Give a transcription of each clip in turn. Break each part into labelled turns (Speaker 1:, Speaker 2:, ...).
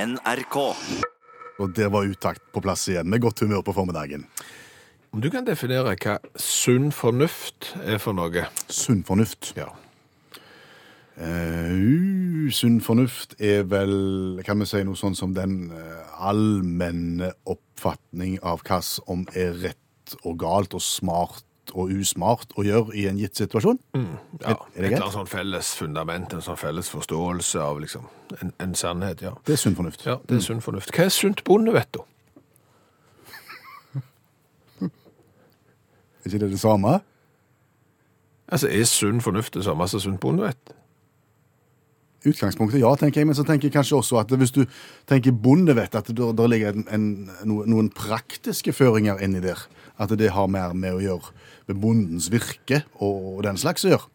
Speaker 1: NRK.
Speaker 2: Og der var utakt på plass igjen, med godt humør på formiddagen.
Speaker 3: Om du kan definere hva sunn fornuft er for noe?
Speaker 2: Sunn fornuft.
Speaker 3: Ja.
Speaker 2: Eh, uh, sunn fornuft er vel, kan vi si noe sånn som den eh, allmenne oppfatning av hva som er rett og galt og smart og usmart å gjøre i en gitt situasjon.
Speaker 3: Mm.
Speaker 2: Er- er det
Speaker 3: ja. Et
Speaker 2: greit?
Speaker 3: eller annet sånn felles fundament, en sånn felles forståelse av liksom, en, en sannhet. Ja.
Speaker 2: Det er sunn fornuft.
Speaker 3: ja, det er sunn fornuft. Hva er sunt bondevett, da?
Speaker 2: Er ikke det det samme?
Speaker 3: Altså, Er sunn fornuft det samme som sunt bondevett?
Speaker 2: I utgangspunktet ja, tenker jeg, men så tenker jeg kanskje også at hvis du tenker bondevett, at det der ligger en, en, no- noen praktiske føringer inni der. At det har mer med å gjøre med bondens virke og den slags å gjøre.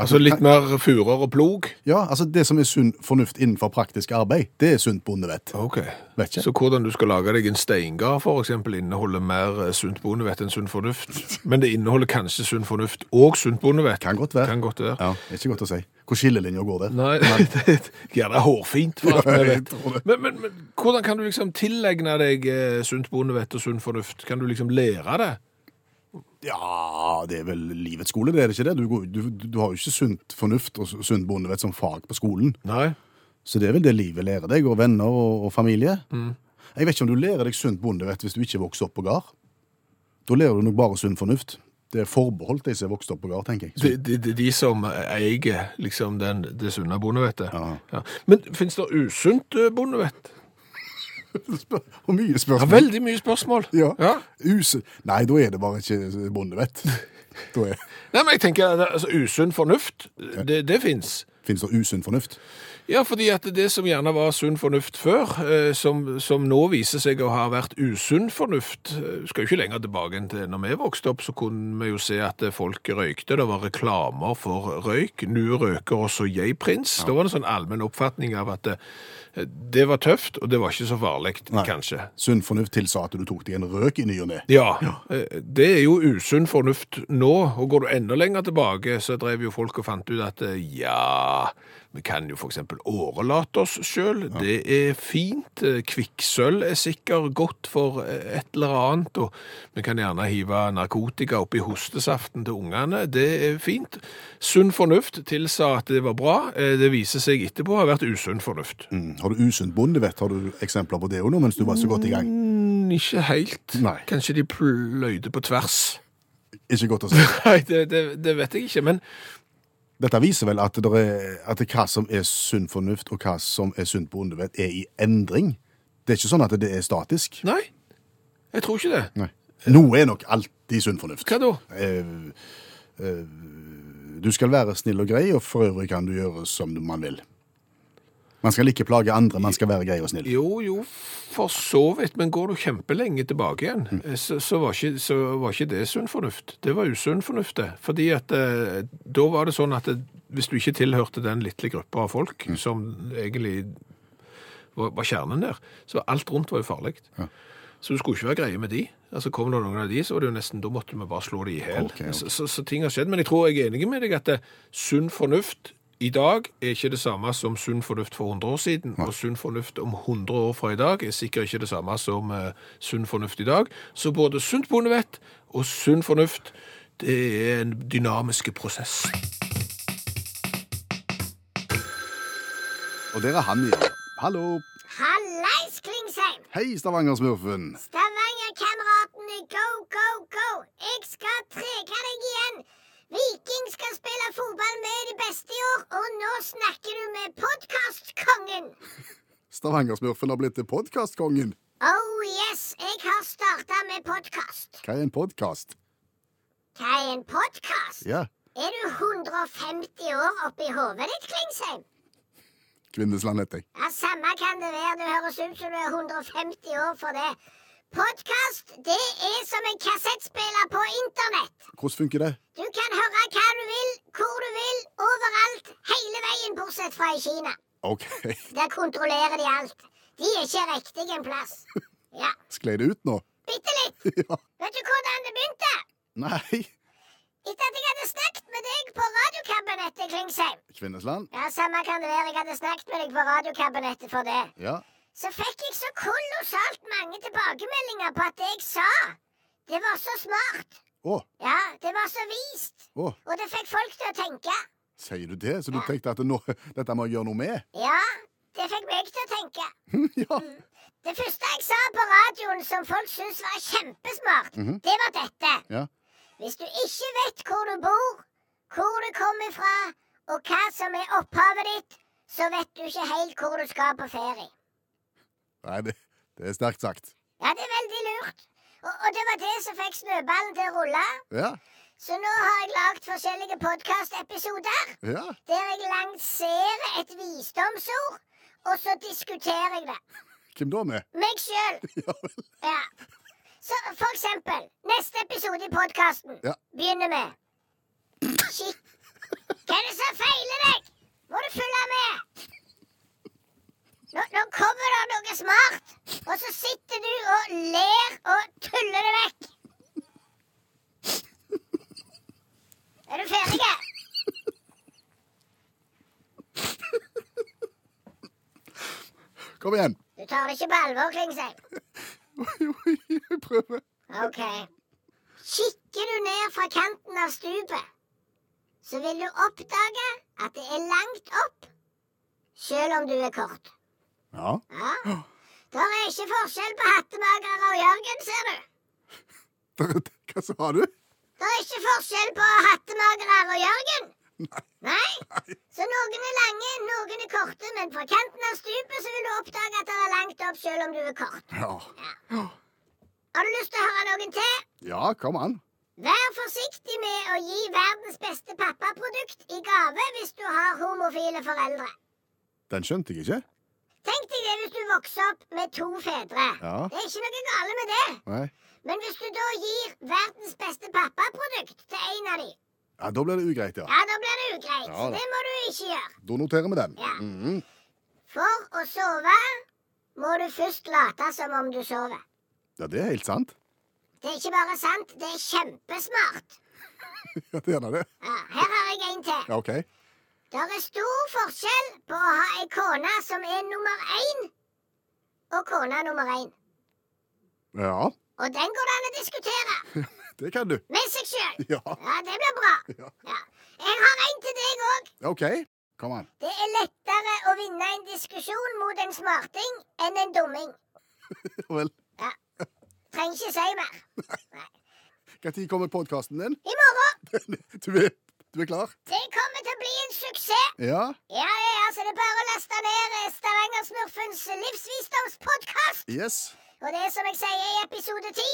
Speaker 3: Altså Litt mer furer og plog?
Speaker 2: Ja, altså det som er sunn fornuft innenfor praktisk arbeid, det er sunt bondevett.
Speaker 3: Ok.
Speaker 2: Vet ikke.
Speaker 3: Så hvordan du skal lage deg en steingard f.eks. inneholder mer eh, sunt bondevett enn sunn fornuft? Men det inneholder kanskje sunn fornuft og sunt bondevett?
Speaker 2: Kan godt være.
Speaker 3: Kan godt være.
Speaker 2: Ja, det er ikke godt å si. Hvor skillelinja går der.
Speaker 3: Nei, det gjerne hårfint. For alt vi
Speaker 2: jeg
Speaker 3: vet.
Speaker 2: tror det.
Speaker 3: Men, men, men hvordan kan du liksom tilegne deg eh, sunt bondevett og sunn fornuft? Kan du liksom lære det?
Speaker 2: Ja, det er vel livets skole, det er det ikke det? Du, går, du, du har jo ikke sunt fornuft og sunt bondevett som fag på skolen.
Speaker 3: Nei.
Speaker 2: Så det er vel det livet lærer deg, og venner og, og familie.
Speaker 3: Mm.
Speaker 2: Jeg vet ikke om du lærer deg sunt bondevett hvis du ikke vokser opp på gard. Da lærer du nok bare sunn fornuft. Det er forbeholdt de som er vokst opp på gard, tenker jeg.
Speaker 3: De, de, de, de som eier liksom den, det sunne bondevettet.
Speaker 2: Ja.
Speaker 3: Men fins det usunt eh, bondevett?
Speaker 2: Spør- Og mye
Speaker 3: Ja,
Speaker 2: spørsmål.
Speaker 3: veldig mye spørsmål.
Speaker 2: Ja.
Speaker 3: Ja.
Speaker 2: Us Nei, da er det bare ikke bondevett. Da er...
Speaker 3: Nei, men jeg tenker altså, Usunn fornuft, det, det fins.
Speaker 2: Finnes det usunn fornuft?
Speaker 3: Ja, fordi at det som gjerne var sunn fornuft før, eh, som, som nå viser seg å ha vært usunn fornuft eh, Du skal jo ikke lenger tilbake enn til når vi vokste opp, så kunne vi jo se at eh, folk røykte. Det var reklamer for røyk. Nå røker også jeg, prins. Da var det en sånn allmenn oppfatning av at eh, det var tøft, og det var ikke så farlig,
Speaker 2: Nei.
Speaker 3: kanskje.
Speaker 2: Sunn fornuft tilsa at du tok deg en røk i ny og ne.
Speaker 3: Ja, eh, det er jo usunn fornuft nå, og går du enda lenger tilbake, så drev jo folk og fant ut at eh, ja, vi kan jo for eksempel årelate oss selv, det er fint, eh, kvikksølv er sikkert godt for eh, et eller annet, og vi kan gjerne hive narkotika opp i hostesaften til ungene, det er fint. Sunn fornuft tilsa at det var bra, Eh, det viser seg etterpå har vært usunn fornuft.
Speaker 2: Mm. Har du usunt bondevett? Har du eksempler på det òg nå, mens du var så godt i gang?
Speaker 3: Mm, Ikke helt.
Speaker 2: Nei.
Speaker 3: Kanskje de pløyde på tvers.
Speaker 2: Ikke godt å si.
Speaker 3: Nei, det, det, det vet jeg ikke, men
Speaker 2: Dette viser vel at, det er, at hva som er sunn fornuft, og hva som er sunt bondevett, er i endring. Det er ikke sånn at det er statisk.
Speaker 3: nei, jeg tror ikke det.
Speaker 2: Nei. Noe er nok alltid sunn fornuft.
Speaker 3: Hva da?
Speaker 2: Eh, eh, du skal være snill og grei, og for øvrig kan du gjøre som man vil. Man skal ikke plage andre, man skal være grei og snill.
Speaker 3: Jo, jo, for så vidt, men går du kjempelenge tilbake igjen, eh, så, så, var ikke, så var ikke det sunn fornuft. Det var usunn fornuft, det. Fordi at eh, da var det sånn at det, hvis du ikke tilhørte den lille gruppa av folk som egentlig var, var kjernen der, så var alt rundt var jo farlig.
Speaker 2: Ja.
Speaker 3: Så du skulle ikke være greie med de. Altså Kom det noen av de, så var det jo nesten, da måtte vi bare slå de i hjel.
Speaker 2: Ok, ok.
Speaker 3: Så, så, så ting har skjedd. Men jeg tror jeg er enig med deg at eh, sunn fornuft i dag er ikke det samme som sunn fornuft for 100 år siden. Og sunn fornuft om 100 år fra i dag er sikkert ikke det samme som eh, sunn fornuft i dag. Så både sunt bondevett og sunn fornuft, det er en dynamiske prosess.
Speaker 2: Og der er han igjen. Hallo.
Speaker 4: Hallais, Klingsheim!
Speaker 2: Hei, Stavanger-smurfen.
Speaker 4: Stavanger-kameratene, go, go, go! Jeg skal treke deg igjen! Viking skal spille fotball med de beste i år, og nå snakker du med podkastkongen!
Speaker 2: Stavanger-smurfen har blitt til podkastkongen.
Speaker 4: Oh yes, jeg har starta med podkast.
Speaker 2: Hva er en podkast?
Speaker 4: Hva er en podkast?
Speaker 2: Ja,
Speaker 4: Er du 150 år oppi hodet ditt, Klingsheim?
Speaker 2: Kvinnesland heter jeg.
Speaker 4: Ja, Samme kan det være. Du høres ut som du er 150 år for det. Podkast, det er som en kassettspiller på internett.
Speaker 2: Hvordan funker det?
Speaker 4: Du kan høre hva du vil, hvor du vil, overalt, hele veien bortsett fra i Kina.
Speaker 2: OK,
Speaker 4: Der kontrollerer de alt. De er ikke riktig en plass. Ja,
Speaker 2: sklei det ut nå?
Speaker 4: bitte litt.
Speaker 2: Ja.
Speaker 4: Vet du hvordan det begynte?
Speaker 2: Nei.
Speaker 4: Etter at jeg hadde snakket med deg på radiokabinettet, Klingsheim
Speaker 2: Kvinnesland.
Speaker 4: Ja, samme kan det være, jeg hadde snakket med deg på radiokabinettet for det.
Speaker 2: Ja.
Speaker 4: Så fikk jeg så kolossalt mange tilbakemeldinger på at det jeg sa, det var så smart.
Speaker 2: Å,
Speaker 4: Ja, det var så vist.
Speaker 2: å,
Speaker 4: Og det fikk folk til å tenke.
Speaker 2: sier du det? Så du tenkte at nå, dette må jeg gjøre noe med?
Speaker 4: Ja, det fikk meg til å tenke.
Speaker 2: ja.
Speaker 4: Det første jeg sa på radioen som folk syntes var kjempesmart, det var dette.
Speaker 2: ja.
Speaker 4: Hvis du ikke vet hvor du bor, hvor du kommer fra, og hva som er opphavet ditt, så vet du ikke helt hvor du skal på ferie.
Speaker 2: Nei, det, det er sterkt sagt.
Speaker 4: Ja, det er veldig lurt. Og, og det var det som fikk snøballen til å rulle.
Speaker 2: Ja.
Speaker 4: Så nå har jeg lagd forskjellige podkastepisoder
Speaker 2: Ja.
Speaker 4: der jeg lanserer et visdomsord, og så diskuterer jeg det.
Speaker 2: Hvem da med?
Speaker 4: Meg sjøl.
Speaker 2: Ja vel.
Speaker 4: Ja. Så for eksempel, neste episode i podkasten
Speaker 2: Ja.
Speaker 4: begynner med Shit. Hva er det som feiler deg? Må du følge med? Nå, nå kommer det noe smart, og så sitter du og ler og tuller det vekk. Er du ferdig?
Speaker 2: Kom igjen.
Speaker 4: Du tar det ikke på alvor, Klingsheim.
Speaker 2: Jeg prøver.
Speaker 4: Ok. Kikker du ned fra kanten av stupet, så vil du oppdage at det er langt opp, selv om du er kort.
Speaker 2: Ja.
Speaker 4: Ja. Der er ikke forskjell på hattemagere og Jørgen, ser du.
Speaker 2: Hva sa du?
Speaker 4: Der er ikke forskjell på hattemagere og Jørgen.
Speaker 2: Nei.
Speaker 4: Nei? Så noen er lange, noen er korte, men fra kanten av stupet så vil du oppdage at det er langt opp, selv om du er kort.
Speaker 2: Ja.
Speaker 4: Har du lyst til å høre noen til?
Speaker 2: Ja, kom an.
Speaker 4: Vær forsiktig med å gi verdens beste pappaprodukt i gave hvis du har homofile foreldre.
Speaker 2: Den skjønte jeg ikke.
Speaker 4: Tenk deg det hvis du vokser opp med to fedre.
Speaker 2: Ja.
Speaker 4: Det er ikke noe gale med det.
Speaker 2: Nei.
Speaker 4: Men hvis du da gir verdens beste pappaprodukt til en av dem,
Speaker 2: Ja, Da blir det ugreit, ja.
Speaker 4: ja, da blir det ugreit.
Speaker 2: Ja da.
Speaker 4: det må du ikke gjøre.
Speaker 2: Da noterer vi den.
Speaker 4: Ja.
Speaker 2: Mhm.
Speaker 4: For å sove må du først late som om du sover.
Speaker 2: Ja, det er helt sant.
Speaker 4: Det er ikke bare sant, det er kjempesmart.
Speaker 2: Ja, det er da det.
Speaker 4: Ja, her har jeg en til.
Speaker 2: Ja, OK.
Speaker 4: Det er stor forskjell på å ha ei kone som er nummer én, og kona nummer én.
Speaker 2: Ja,
Speaker 4: Og den går det an å diskutere
Speaker 2: det kan du.
Speaker 4: med seg sjøl.
Speaker 2: Ja.
Speaker 4: Ja, det blir bra.
Speaker 2: Ja.
Speaker 4: Ja. Jeg har en til deg òg.
Speaker 2: OK. Kom an.
Speaker 4: Det er lettere å vinne en diskusjon mot en smarting enn en dumming.
Speaker 2: Ja vel.
Speaker 4: Trenger ikke si mer.
Speaker 2: Når kommer podkasten din?
Speaker 4: I morgen.
Speaker 2: Du er, du er klar?
Speaker 4: Det kommer til å bli en suksess.
Speaker 2: Ja?
Speaker 4: Ja, ja, altså, det er bare å laste ned eh, Stavangersmurfens livsvisdomspodkast.
Speaker 2: Yes.
Speaker 4: Og det er som jeg sier i episode ti,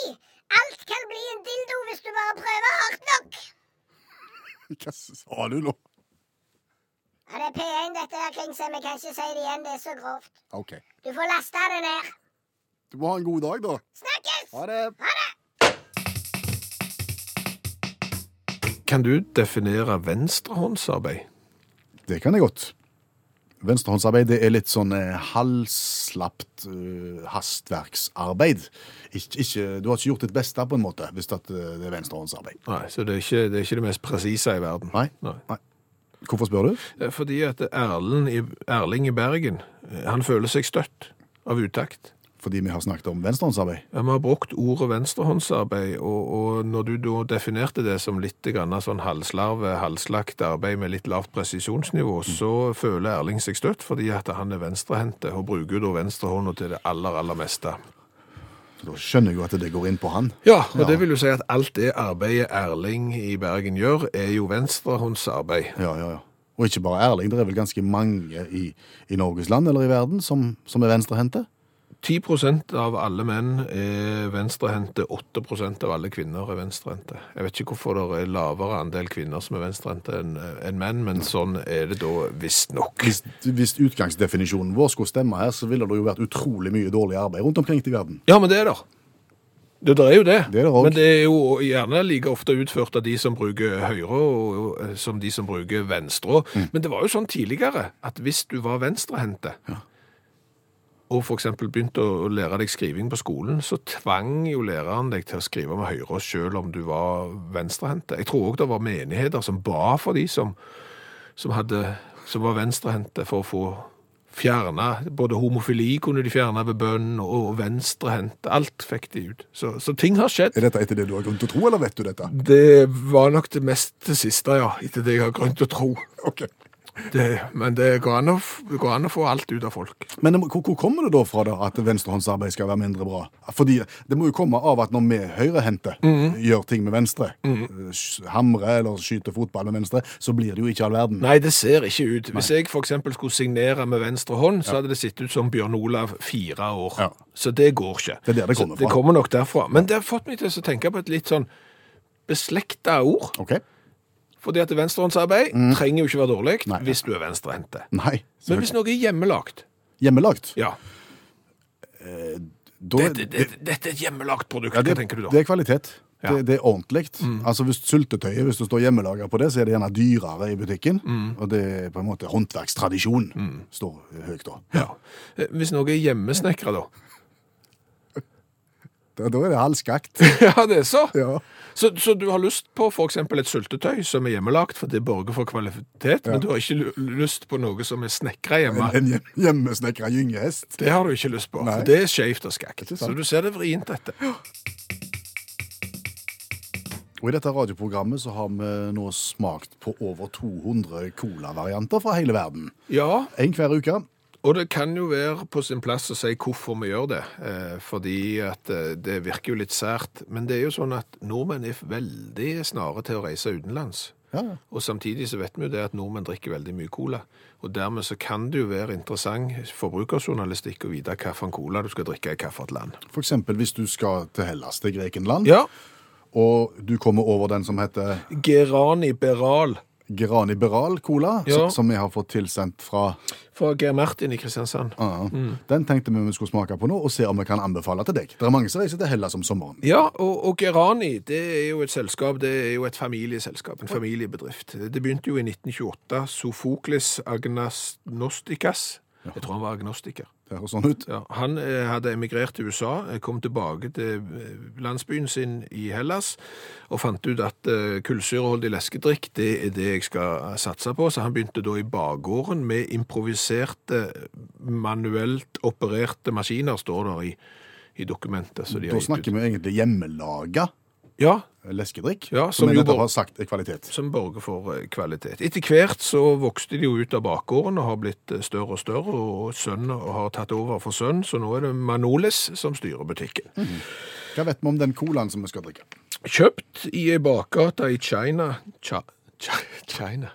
Speaker 4: alt kan bli en dildo hvis du bare prøver hardt nok.
Speaker 2: Hva sa du nå?
Speaker 4: Ja, det er P1 dette her, Klingsheim. Jeg kan ikke si det igjen, det er så grovt.
Speaker 2: OK.
Speaker 4: Du får laste det ned.
Speaker 2: Du må ha en god dag, da.
Speaker 4: Snakkes!
Speaker 2: Ha det.
Speaker 4: Ha det!
Speaker 3: Kan du definere venstrehåndsarbeid?
Speaker 2: Det kan jeg godt. Venstrehåndsarbeid det er litt sånn eh, halvslapt eh, hastverksarbeid. Ikk- ikke, du har ikke gjort ditt beste, på en måte, hvis at, eh, det er venstrehåndsarbeid.
Speaker 3: Nei, så det er ikke det, er ikke det mest presise i verden.
Speaker 2: Nei. Nei. Hvorfor spør du?
Speaker 3: Eh, Fordi at Erlen i, Erling i Bergen, eh, han føler seg støtt av utakt.
Speaker 2: Fordi vi har snakket om venstrehåndsarbeid.
Speaker 3: Ja, Vi har brukt ordet venstrehåndsarbeid, og, og når du da definerte det som litt grann sånn halvslarve, halvslakt arbeid med litt lavt presisjonsnivå, så føler Erling seg støtt fordi at han er venstrehendte, og bruker da venstrehånda til det aller, aller meste.
Speaker 2: Da skjønner jeg jo at det går inn på han.
Speaker 3: Ja, og det vil jo si at alt det arbeidet Erling i Bergen gjør, er jo venstrehåndsarbeid.
Speaker 2: Ja, ja, ja. Og ikke bare Erling, det er vel ganske mange i, i Norges land eller i verden som, som er venstrehendte?
Speaker 3: 10 av alle menn er venstrehendte, 8 av alle kvinner er venstrehendte. Jeg vet ikke hvorfor det er lavere andel kvinner som er venstrehendte enn enn menn, men sånn er det da visstnok.
Speaker 2: Hvis, hvis utgangsdefinisjonen vår skulle stemme her, så ville det jo vært utrolig mye dårlig arbeid rundt omkring i verden.
Speaker 3: Ja, men det er der. Det der er jo det.
Speaker 2: Det er der også.
Speaker 3: men det er jo gjerne like ofte utført av de som bruker høyre, og, og, som de som bruker
Speaker 2: Mm.
Speaker 3: venstre. Men det var jo sånn tidligere at hvis du var venstrehendte, og for eksempel begynte å å lære deg skriving på skolen, så tvang jo læreren deg til å skrive med høyre selv om du var venstrehendte. Jeg tror også det var menigheter som ba for de som, som, hadde, som var venstrehendte for å få fjernet, både homofili kunne de fjerne ved bønn, og venstrehendte, alt fikk de ut. Så, så ting har skjedd.
Speaker 2: Er dette etter det du har grunn til å tro, eller vet du dette?
Speaker 3: Det var nok det mest det siste, ja, etter det jeg har grunn til å tro.
Speaker 2: Ok.
Speaker 3: Det, men det går an, å, f- det går an å få alt ut av folk.
Speaker 2: Men det må- hvor, hvor kommer det da fra da at venstrehåndsarbeid skal være mindre bra? Fordi Det må jo komme av at når vi høyrehendte gjør ting med venstre, eh, s- hamre eller skyter fotball med venstre, så blir det jo ikke all verden.
Speaker 3: Nei, det ser ikke ut. Hvis jeg for eksempel skulle signere med venstre hånd, så hadde det sett ut som Bjørn Olav fire år.
Speaker 2: Ja.
Speaker 3: Så det går ikke.
Speaker 2: Det er der det
Speaker 3: Så
Speaker 2: kommer
Speaker 3: Det
Speaker 2: fra.
Speaker 3: kommer nok derfra. Men det har fått meg til å tenke på et litt sånn beslekta ord.
Speaker 2: Ok? Mm.
Speaker 3: Fordi at venstrehåndsarbeid trenger jo ikke være dårlig
Speaker 2: Nei.
Speaker 3: hvis du er venstrehendte.
Speaker 2: Nei. Så
Speaker 3: Men hvis noe er hjemmelagt
Speaker 2: Hjemmelagt?
Speaker 3: Ja.
Speaker 2: Da,
Speaker 3: Dette, dette, dette er et hjemmelagt produkt,
Speaker 2: Ja, det,
Speaker 3: hva tenker du da?
Speaker 2: det er kvalitet.
Speaker 3: Ja. Mm.
Speaker 2: Det, det er ordentlig. Altså hvis Syltetøyet, hvis det står hjemmelaga på det, så er det gjerne dyrere i butikken.
Speaker 3: Mm.
Speaker 2: Og det er på en måte håndverkstradisjon står høyt da.
Speaker 3: Ja. Eh, Hvis noe er hjemmesnekra, da?
Speaker 2: Da, da er det halvskakt.
Speaker 3: ja, det er så.
Speaker 2: Ja.
Speaker 3: Så, så du har lyst på for eksempel et syltetøy som er hjemmelagt, for det borger for kvalitet, men du har ikke lu- lyst på noe som er snekra hjemme.
Speaker 2: En hjem- hjemmesnekra gyngehest.
Speaker 3: Det har du ikke lyst på,
Speaker 2: Nei.
Speaker 3: for det er skjevt og skakt.
Speaker 2: Ikke sant.
Speaker 3: Så du ser det vrient, dette.
Speaker 2: Og i dette radioprogrammet så har vi nå smakt på over 200 colavarianter fra hele verden.
Speaker 3: Ja,
Speaker 2: Én hver uke.
Speaker 3: og det kan jo være på sin plass å si hvorfor vi gjør det, eh, fordi at eh, det virker jo litt sært. Men det er jo sånn at nordmenn er veldig snare til å reise utenlands.
Speaker 2: Ja, ja.
Speaker 3: Og samtidig så vet vi jo det at nordmenn drikker veldig mye cola. Og dermed så kan det jo være interessant forbrukerjournalistikk å vite hvilken cola du skal drikke i hvilket land.
Speaker 2: For eksempel hvis du skal til Hellas, til Grekenland,
Speaker 3: Ja,
Speaker 2: og du kommer over den som heter
Speaker 3: Gerani Beral
Speaker 2: Grani Beral Cola,
Speaker 3: Ja.
Speaker 2: som- som vi har fått tilsendt fra
Speaker 3: fra Geir Martin i Kristiansand.
Speaker 2: Ja, Den tenkte vi vi skulle smake på nå, og se om vi kan anbefale til deg. Det er mange som reiser til Hellas om sommeren.
Speaker 3: Ja, og, og Gerani det er jo et selskap, det er jo et familieselskap, en familiebedrift. Det begynte jo i 1928. Sofokles Agnostikas, jeg tror han var agnostiker.
Speaker 2: Det høres sånn ut.
Speaker 3: Ja, han eh, hadde emigrert til USA, eh, kom tilbake til eh, landsbyen sin i Hellas, og fant ut at eh, kullsyreholdig leskedrikk, det er det jeg skal eh, satse på. Så han begynte da i bakgården med improviserte, manuelt opererte maskiner, står der i, i dokumentet. Så de har
Speaker 2: Da
Speaker 3: gitt ut.
Speaker 2: snakker vi egentlig hjemmelaga
Speaker 3: Ja,
Speaker 2: leskedrikk,
Speaker 3: Ja,
Speaker 2: som
Speaker 3: som
Speaker 2: jeg
Speaker 3: jo
Speaker 2: nettopp
Speaker 3: var-
Speaker 2: har sagt er kvalitet.
Speaker 3: som borger for eh, kvalitet. Etter hvert så vokste de jo ut av bakgården og har blitt eh, større og større, og sønn har tatt over for sønn, så nå er det Manolis som styrer butikken.
Speaker 2: Hva vet vi om den colaen som vi skal drikke?
Speaker 3: Kjøpt i ei bakgate i China Cha, Cha, China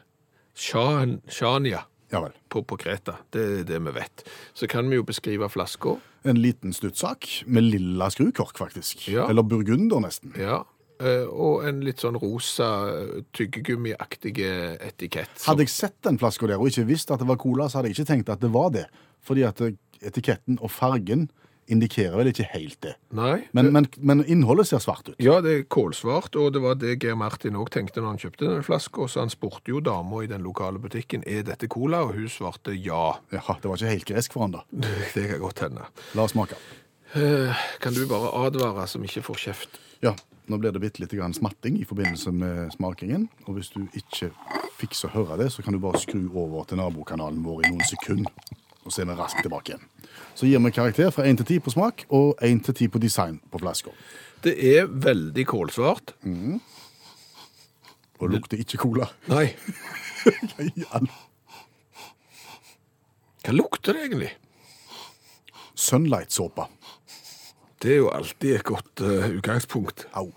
Speaker 3: Shan- Shania
Speaker 2: Ja vel.
Speaker 3: på, på Kreta. Det er det vi vet. Så kan vi jo beskrive flaska.
Speaker 2: En liten stuttsak med lilla skrukork, faktisk.
Speaker 3: Ja.
Speaker 2: Eller burgunder, nesten.
Speaker 3: Ja. eh, Og en litt sånn rosa eh, tyggegummiaktig etikett. som-
Speaker 2: Hadde jeg sett den flaska der og ikke visst at det var cola, så hadde jeg ikke tenkt at det var det. Fordi at eh, etiketten og fargen indikerer vel ikke helt det.
Speaker 3: Nei.
Speaker 2: Men, men, men innholdet ser svart ut.
Speaker 3: Ja, det er kålsvart, og det var det Geir Martin òg tenkte når han kjøpte den flaska. Så han spurte jo dama i den lokale butikken er dette cola, og hun svarte ja.
Speaker 2: Ja, Det var ikke helt gresk for han, da.
Speaker 3: Det kan godt hende.
Speaker 2: La oss smake.
Speaker 3: Eh, Kan du bare advare som ikke får kjeft?
Speaker 2: Ja, nå blir det bitte litt grann smatting i forbindelse med smakingen. Og hvis du ikke fikser å høre det, så kan du bare skru over til nabokanalen vår i noen sekunder. Og så er vi raskt tilbake igjen. Så gir vi karakter fra 1 til 10 på smak og 1 til 10 på design på flaska.
Speaker 3: Det er veldig kålsvart.
Speaker 2: Og lukter ikke cola.
Speaker 3: Nei.
Speaker 2: Hva i all-
Speaker 3: Hva lukter det egentlig?
Speaker 2: Sunlight-såpe.
Speaker 3: Det er jo alltid et godt eh, utgangspunkt.
Speaker 2: Au.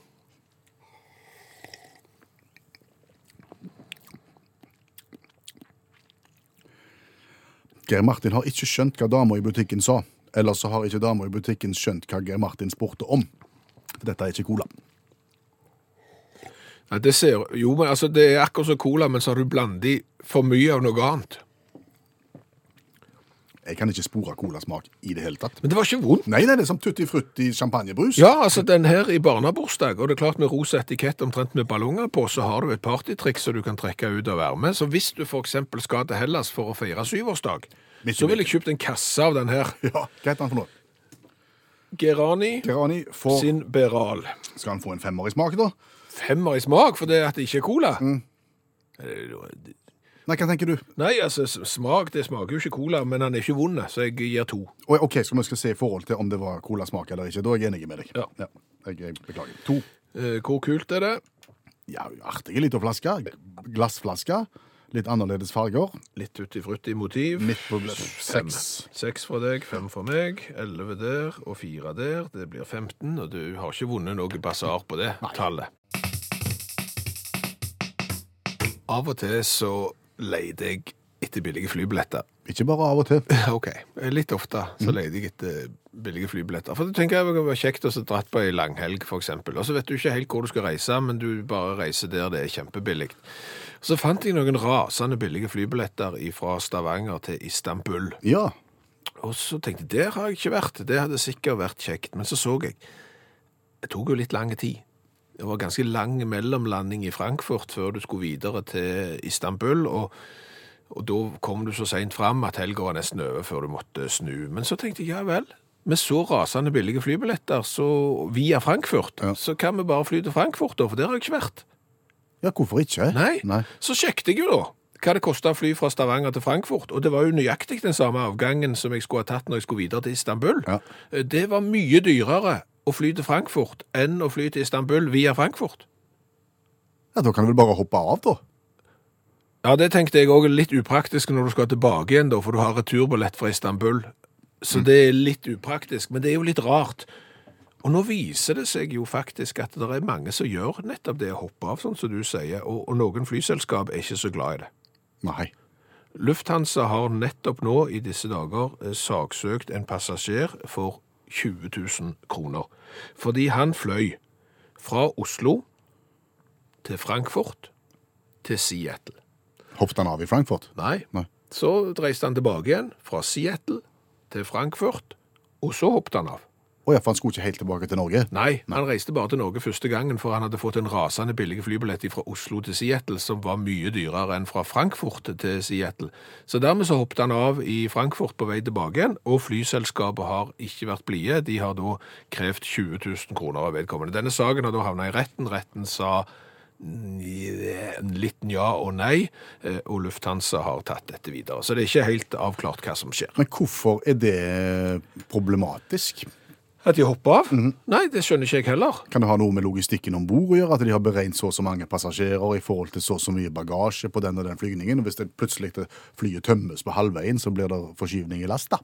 Speaker 2: Geir Martin har ikke skjønt hva dama i butikken sa. Eller så har ikke dama i butikken skjønt hva Geir Martin spurte om. For Dette er ikke cola.
Speaker 3: Nei, det ser Jo, men altså, det er akkurat som cola, men så har du blandet i for mye av noe annet.
Speaker 2: Jeg kan ikke spore colasmak i det hele tatt.
Speaker 3: Men det var ikke vondt.
Speaker 2: Nei, nei, det er som tutti frutti champagnebrus.
Speaker 3: Ja, altså den her i barnebursdag, og det er klart med rosa etikett omtrent med ballonger på, så har du et partytriks som du kan trekke ut og være med. Så hvis du for eksempel skal til Hellas for å feire syvårsdag,
Speaker 2: Midt i
Speaker 3: så ville jeg kjøpt en kasse av den her.
Speaker 2: Ja, Hva heter han for noe?
Speaker 3: Gerani
Speaker 2: Gerani, får,
Speaker 3: sin Beral.
Speaker 2: skal han få en femmer i smak, da?
Speaker 3: Femmer i smak, for det at det ikke er cola. Eh,
Speaker 2: Nei, hva tenker du?
Speaker 3: Nei, altså s- smak, det smaker jo ikke cola, men han er ikke vond, så jeg gir to.
Speaker 2: Å, OK, så vi skal se i forhold til om det var colasmak eller ikke. Da er jeg enig med deg.
Speaker 3: Ja.
Speaker 2: jeg, jeg beklager. To.
Speaker 3: Eh, hvor kult er det?
Speaker 2: Ja, artige lita flaske. Glassflaske. Litt annerledes farger.
Speaker 3: Litt utti frutti motiv.
Speaker 2: Midt på bl-
Speaker 3: Fem.
Speaker 2: seks.
Speaker 3: Seks fra deg, fem fra meg, elleve der og fire der. Det blir 15, og du har ikke vunnet noe basar på det tallet. Av og til så leide jeg etter billige flybilletter.
Speaker 2: Ikke bare av og til.
Speaker 3: Ok, litt ofte så leide jeg etter billige flybilletter. For du tenker jeg det var kjekt å så dratt på ei langhelg, for eksempel. Og så vet du ikke helt hvor du skal reise, men du bare reiser der det er kjempebillig. Så fant jeg noen rasende billige flybilletter fra Stavanger til Istanbul.
Speaker 2: Ja.
Speaker 3: Og så tenkte jeg, der har jeg ikke vært. Det hadde sikkert vært kjekt. Men så så jeg, det tok jo litt lang tid. Det var ganske lang mellomlanding i Frankfurt før du skulle videre til Istanbul, og, og da kom du så sent frem at helga var nesten over før du måtte snu. Men så tenkte jeg, ja vel, med så rasende billige flybilletter så, via Frankfurt,
Speaker 2: Ja.
Speaker 3: så kan vi bare fly til Frankfurt da, for der har jeg ikke vært.
Speaker 2: Ja, hvorfor ikke?
Speaker 3: Nei.
Speaker 2: Nei.
Speaker 3: Så sjekket jeg jo da hva det kosta å fly fra Stavanger til Frankfurt, og det var jo nøyaktig den samme avgangen som jeg skulle ha tatt når jeg skulle videre til Istanbul. Eh,
Speaker 2: Ja.
Speaker 3: Det var mye dyrere å fly til Frankfurt enn å fly til Istanbul via Frankfurt.
Speaker 2: Ja, Da kan du vel bare hoppe av, da.
Speaker 3: Ja, det tenkte jeg òg er litt upraktisk når du skal tilbake igjen, da, for du har returbillett fra Istanbul. Så det er litt upraktisk, men det er jo litt rart. Og nå viser det seg jo faktisk at det er mange som gjør nettopp det å hoppe av, sånn som du sier, og, og noen flyselskap er ikke så glad i det.
Speaker 2: Nei.
Speaker 3: Lufthansa har nettopp nå i disse dager eh, saksøkt en passasjer for 20 000 kroner. Fordi han fløy fra Oslo til Frankfurt til Seattle.
Speaker 2: Hoppet han av i Frankfurt?
Speaker 3: Nei,
Speaker 2: Nei.
Speaker 3: så reiste han tilbake igjen fra Seattle til Frankfurt, og så hoppet han av.
Speaker 2: Å ja, for han skulle ikke helt tilbake til Norge?
Speaker 3: Nei, han reiste bare til Norge første gangen, for han hadde fått en rasende billig flybillett fra Oslo til Seattle, som var mye dyrere enn fra Frankfurt til Seattle. Så dermed så hoppet han av i Frankfurt på vei tilbake igjen, og flyselskapet har ikke vært blide. De har da krevd 20 000 kroner av vedkommende. Denne saken har da havnet i retten. Retten sa en liten ja og nei, eh, og Lufthansa har tatt dette videre. Så det er ikke helt avklart hva som skjer.
Speaker 2: Men hvorfor er det problematisk?
Speaker 3: At de hopper av? Nei, det skjønner ikke jeg heller.
Speaker 2: Kan det ha noe med logistikken om bord å gjøre? At de har beregnet så og så mange passasjerer i forhold til så og så mye bagasje på den og den flygningen? Og hvis det plutselig det flyet tømmes på halvveien, så blir det forskyvning i lasta?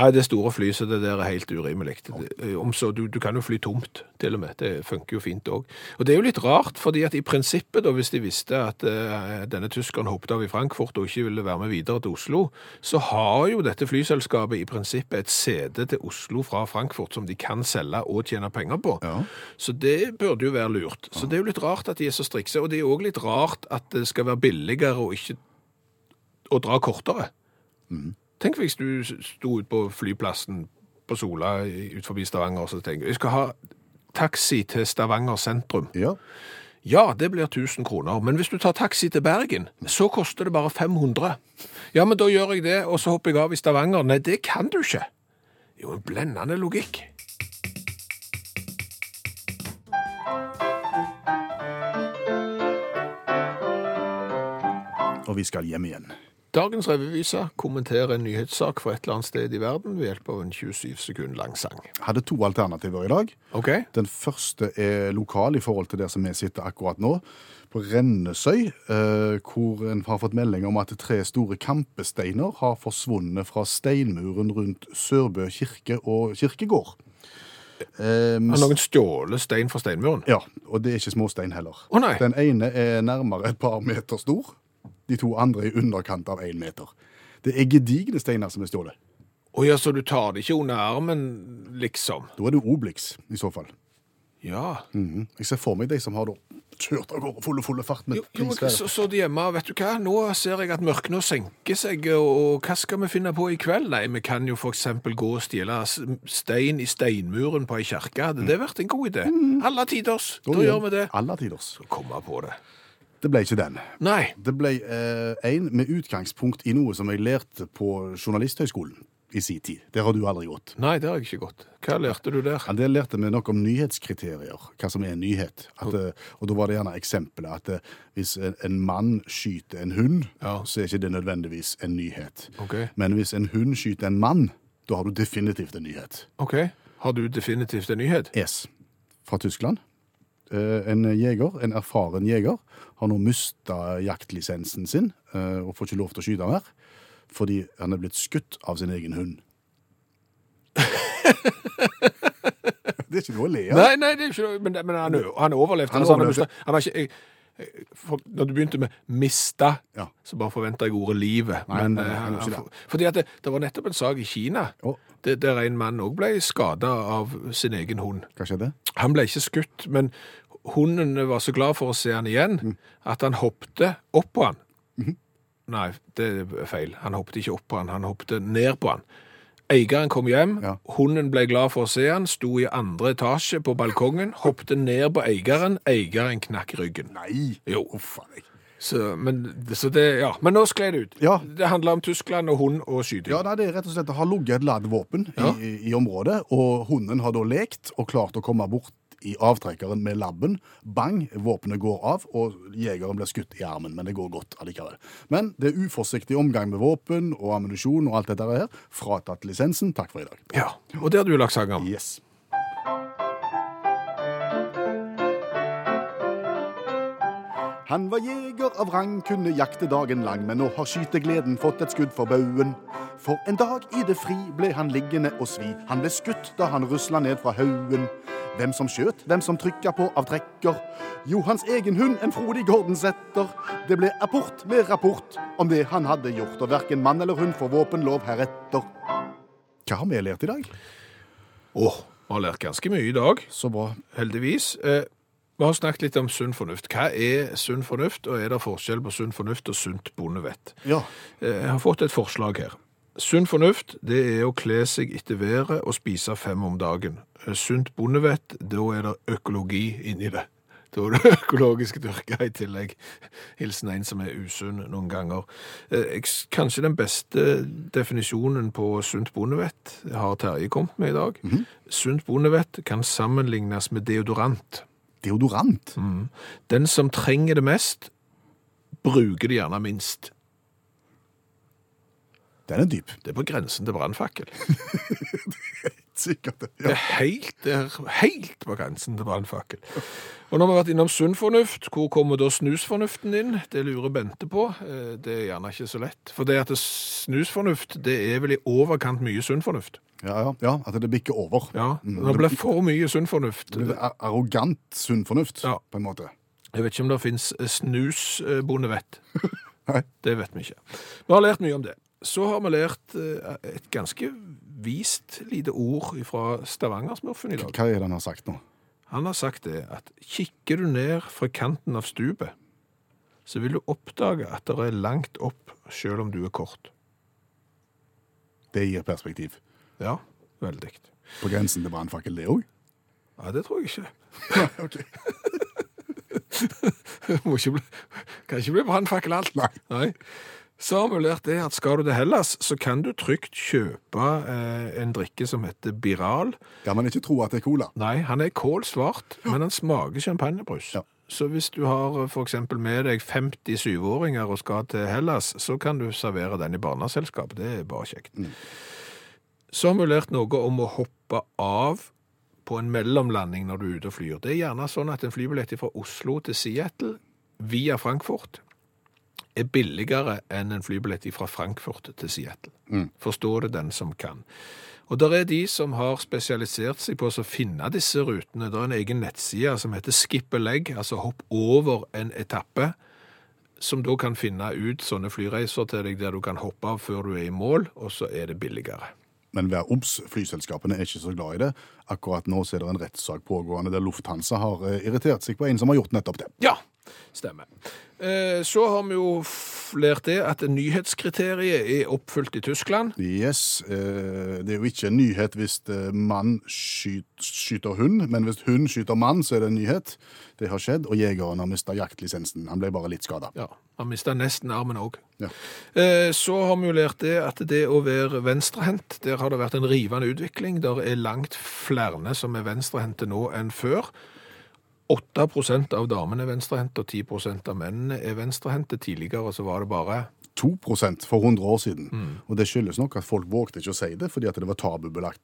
Speaker 3: Nei, det store flyet, så det der er helt urimelig. Det- eh, Om så, du, du kan jo fly tomt, til og med. Det funker jo fint òg. Og det er jo litt rart, fordi at i prinsippet, da, hvis de visste at eh, denne tyskeren hoppet av i Frankfurt og ikke ville være med videre til Oslo, så har jo dette flyselskapet i prinsippet et sete til Oslo fra Frankfurt som de kan selge og tjene penger på.
Speaker 2: Ja.
Speaker 3: Så det burde jo være lurt. Så det er jo litt rart at de er så strikse, og det er òg litt rart at det skal være billigere og ikke å dra kortere. Tenk hvis du sto ut på flyplassen på Sola i- ut forbi Stavanger og så tenker jeg, jeg skal ha taxi til Stavanger sentrum.
Speaker 2: Ja.
Speaker 3: Ja, det blir 1000 kroner, men hvis du tar taxi til Bergen, så koster det bare 500. Ja, men da gjør jeg det, og så hopper jeg av i Stavanger. Nei, det kan du ikke. Det er jo en blendende logikk.
Speaker 2: Og vi skal hjem igjen.
Speaker 3: Dagens revyvise kommenterer en nyhetssak fra et eller annet sted i verden ved hjelp av en 27 sekund lang sang.
Speaker 2: Hadde to alternativer i dag.
Speaker 3: Ok?
Speaker 2: Den første er lokal i forhold til der som vi sitter akkurat nå, på Rennesøy, eh, hvor en har fått melding om at tre store kampesteiner har forsvunnet fra steinmuren rundt Sørbø kirke og kirkegård. Eh,
Speaker 3: Har noen stjålet stein fra steinmuren?
Speaker 2: ja, og det er ikke småstein heller.
Speaker 3: Å, nei.
Speaker 2: Den ene er nærmere et par meter stor, de to andre i underkant av én meter. Det er gedigne steiner som er stjålet.
Speaker 3: Å ja, så du tar det ikke under armen, liksom?
Speaker 2: Da er det Obelix, i så fall.
Speaker 3: Ja.
Speaker 2: Mhm. Jeg ser for meg de som har da kjørte av gårde fulle, fulle fart med
Speaker 3: Jo, jo, men
Speaker 2: prisvær.
Speaker 3: så, så de hjemme, vet du hva, nå ser jeg at mørket nå senker seg, og hva skal vi finne på i kveld? Nei, vi kan jo for eksempel gå og stjele s- stein i steinmuren på ei kjerke, hadde det vært en god idé? Alle tiders, da gjør vi det.
Speaker 2: Alle tiders.
Speaker 3: Oh, Komme på det.
Speaker 2: Det ble ikke den.
Speaker 3: Nei,
Speaker 2: Det ble én med utgangspunkt i noe som jeg lærte på Journalisthøgskolen i sin tid. Der har du aldri gått.
Speaker 3: nei, det har jeg ikke gått. Hva lærte du der?
Speaker 2: Ja, Der lærte vi nok om nyhetskriterier, hva som er en nyhet.
Speaker 3: Hm.
Speaker 2: At, eh, og da var det gjerne eksempelet at eh, hvis en, en mann skyter en hund,
Speaker 3: Ja.
Speaker 2: så er ikke det nødvendigvis en nyhet.
Speaker 3: Ok.
Speaker 2: Men hvis en hund skyter en mann, da har du definitivt en nyhet.
Speaker 3: Ok, har du definitivt en nyhet?
Speaker 2: Es fra Tyskland. Eh, En jeger, en erfaren jeger, har nå mista jaktlisensen sin eh, og får ikke lov til å skyte mer fordi han er blitt skutt av sin egen hund. det er ikke noe å le av.
Speaker 3: Nei, nei, det er ikke noe, men, men han, han overlevde.
Speaker 2: Han
Speaker 3: Altså, Han, har
Speaker 2: overlevde.
Speaker 3: mistet- han har ikke... Jeg, jeg- for, når du begynte med mista,
Speaker 2: Ja.
Speaker 3: så bare forventa jeg ordet livet.
Speaker 2: Nei,
Speaker 3: men,
Speaker 2: nei, nei,
Speaker 3: eh,
Speaker 2: han gjorde ikke
Speaker 3: for- fordi at det, det var nettopp en sak i Kina
Speaker 2: Å.
Speaker 3: det, der en mann òg ble skada av sin egen hund.
Speaker 2: Hva skjedde?
Speaker 3: Han ble ikke skutt, men hunden var så glad for å se han igjen
Speaker 2: Mm.
Speaker 3: at han hoppte opp på han.
Speaker 2: Mhm.
Speaker 3: Nei, det er feil. Han hoppet ikke opp på han, han hoppet ned på han. Eieren kom hjem,
Speaker 2: Ja.
Speaker 3: hunden ble glad for å se han, sto i andre etasje på balkongen, hoppte ned på eieren, eieren knakk ryggen.
Speaker 2: Nei!
Speaker 3: Jo.
Speaker 2: Uff a meg.
Speaker 3: Så, men, så det, ja. men nå skled det ut.
Speaker 2: Ja.
Speaker 3: Det handler om Tyskland og hund og skyting.
Speaker 2: Ja, nei, det er rett og slett Det har ligget et ladd våpen
Speaker 3: Ja.
Speaker 2: i, i området, og hunden har da lekt og klart å komme bort i avtrekkeren med labben. Bang, våpenet går av, og jegeren blir skutt i armen, men det går godt allikevel. Men det er uforsiktig omgang med våpen og ammunisjon og alt dette her. Fratatt lisensen. Takk for i dag.
Speaker 3: Ja. Og det har du lagt sang om.
Speaker 2: Yes. Han var jeger av rang, kunne jakte dagen lang, men nå har skytegleden fått et skudd for baugen. For en dag i det fri ble han liggende og svi. Han ble skutt da han rusla ned fra haugen. Hvem som skjøt, hvem som trykka på avtrekker. Jo, hans egen hund, en frodig Gordensæter. Det ble apport med rapport om det han hadde gjort, og verken mann eller hund får våpenlov heretter. Hva har vi lært i dag?
Speaker 3: Åh, vi har lært ganske mye i dag.
Speaker 2: Så bra.
Speaker 3: heldigvis. Eh, vi har snakket litt om sunn fornuft. Hva er sunn fornuft, og er det forskjell på sunn fornuft og sunt bondevett?
Speaker 2: Ja.
Speaker 3: Eh, jeg har fått et forslag her. Sunn fornuft, det er å kle seg etter været og spise fem om dagen. Eh, Sunt bondevett, da er det økologi inni det. Da er det økologisk dyrka i tillegg. Hilsen en som er usunn noen ganger. Eh, jeg s- Kanskje den beste definisjonen på sunt bondevett har Terje kommet med i dag. Sunt bondevett kan sammenlignes med deodorant.
Speaker 2: Deodorant.
Speaker 3: Den som trenger det mest, bruker det gjerne minst.
Speaker 2: Den er dyp.
Speaker 3: Det er på grensen til brannfakkel.
Speaker 2: Sikkert.
Speaker 3: Det
Speaker 2: Ja.
Speaker 3: er helt, det er helt på grensen til brannfakkel. Og når vi har vært innom sunn fornuft, hvor kommer da snusfornuften inn? Det lurer Bente på. Eh, Det er gjerne ikke så lett. For det at det snusfornuft, det er vel i overkant mye sunn fornuft.
Speaker 2: Ja, ja, ja, at det bikker over.
Speaker 3: Ja,
Speaker 2: Mm,
Speaker 3: når det blir for mye sunn fornuft.
Speaker 2: Det er arrogant sunn fornuft,
Speaker 3: Ja.
Speaker 2: på en måte.
Speaker 3: Jeg vet ikke om det finnes eh, snusbondevett.
Speaker 2: Nei.
Speaker 3: Det vet vi ikke. Vi har lært mye om det. Så har vi lært eh, et ganske vist lite ord fra Stavangersmurfen i dag.
Speaker 2: Hva er det han har sagt nå?
Speaker 3: Han har sagt det at kikker du ned fra kanten av stupet, så vil du oppdage at det er langt opp, selv om du er kort.
Speaker 2: Det gir perspektiv.
Speaker 3: Ja, veldig.
Speaker 2: På grensen til brannfakkel, det òg?
Speaker 3: Ja, det tror jeg ikke.
Speaker 2: Okay.
Speaker 3: Må ikke bli, kan ikke bli brannfakkel alt.
Speaker 2: Nei.
Speaker 3: Så har vi lært det at skal du til Hellas, så kan du trygt kjøpe eh, en drikke som heter Biral.
Speaker 2: Kan man ikke tro at det er cola?
Speaker 3: Nei, han er kålsvart, men han smaker champagnebrus.
Speaker 2: Ja.
Speaker 3: Så hvis du har eh, for eksempel med deg 57-åringer og skal til Hellas, så kan du servere den i barneselskap. Det er bare kjekt. Så har vi lært noe om å hoppe av på en mellomlanding når du er ute og flyr. Det er gjerne sånn at en flybillett fra Oslo til Seattle via Frankfurt er billigere enn en flybillett fra Frankfurt til Seattle. Forstår det den som kan. Og der er de som har spesialisert seg på å finne disse rutene. Det er en egen nettside som heter Skip a leg, altså hopp over en etappe, som da kan finne ut sånne flyreiser til deg der du kan hoppe av før du er i mål, og så er det billigere.
Speaker 2: Men vær obs, flyselskapene er ikke så glad i det. Akkurat nå så er det en rettssak pågående der Lufthansa har eh, irritert seg på en som har gjort nettopp det.
Speaker 3: Ja, stemmer. Eh, Så har vi jo f- lært det at nyhetskriteriet er oppfylt i Tyskland.
Speaker 2: Yes, eh, Det er jo ikke en nyhet hvis eh, mann skyt, skyter hund, men hvis hund skyter mann, så er det en nyhet. Det har skjedd, og jegeren har mista jaktlisensen. Han ble bare litt skada.
Speaker 3: Ja, han mista nesten armen òg.
Speaker 2: Ja.
Speaker 3: Eh, Så har vi jo lært det at det å være venstrehendt, der har det vært en rivende utvikling. Der er langt flere som er venstrehendte nå enn før. 8 av damene er venstrehendte, og 10 av mennene er venstrehendte. Tidligere så var det bare
Speaker 2: 2 for 100 år siden. Og det skyldes nok at folk vågte ikke å si det, fordi at det var tabubelagt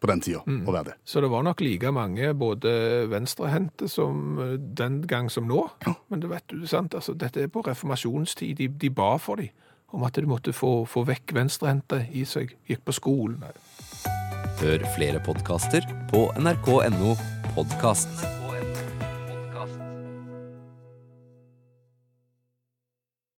Speaker 2: på den tida å være det.
Speaker 3: Så det var nok like mange både venstrehendte som eh, den gang som nå. Men det vet du, sant? Altså, dette er på reformasjonstid. De, de ba for dem om at de måtte få, få vekk venstrehendte i seg. Gikk på skolen. Nei.
Speaker 1: Hør flere podkaster på nrk.no podkast.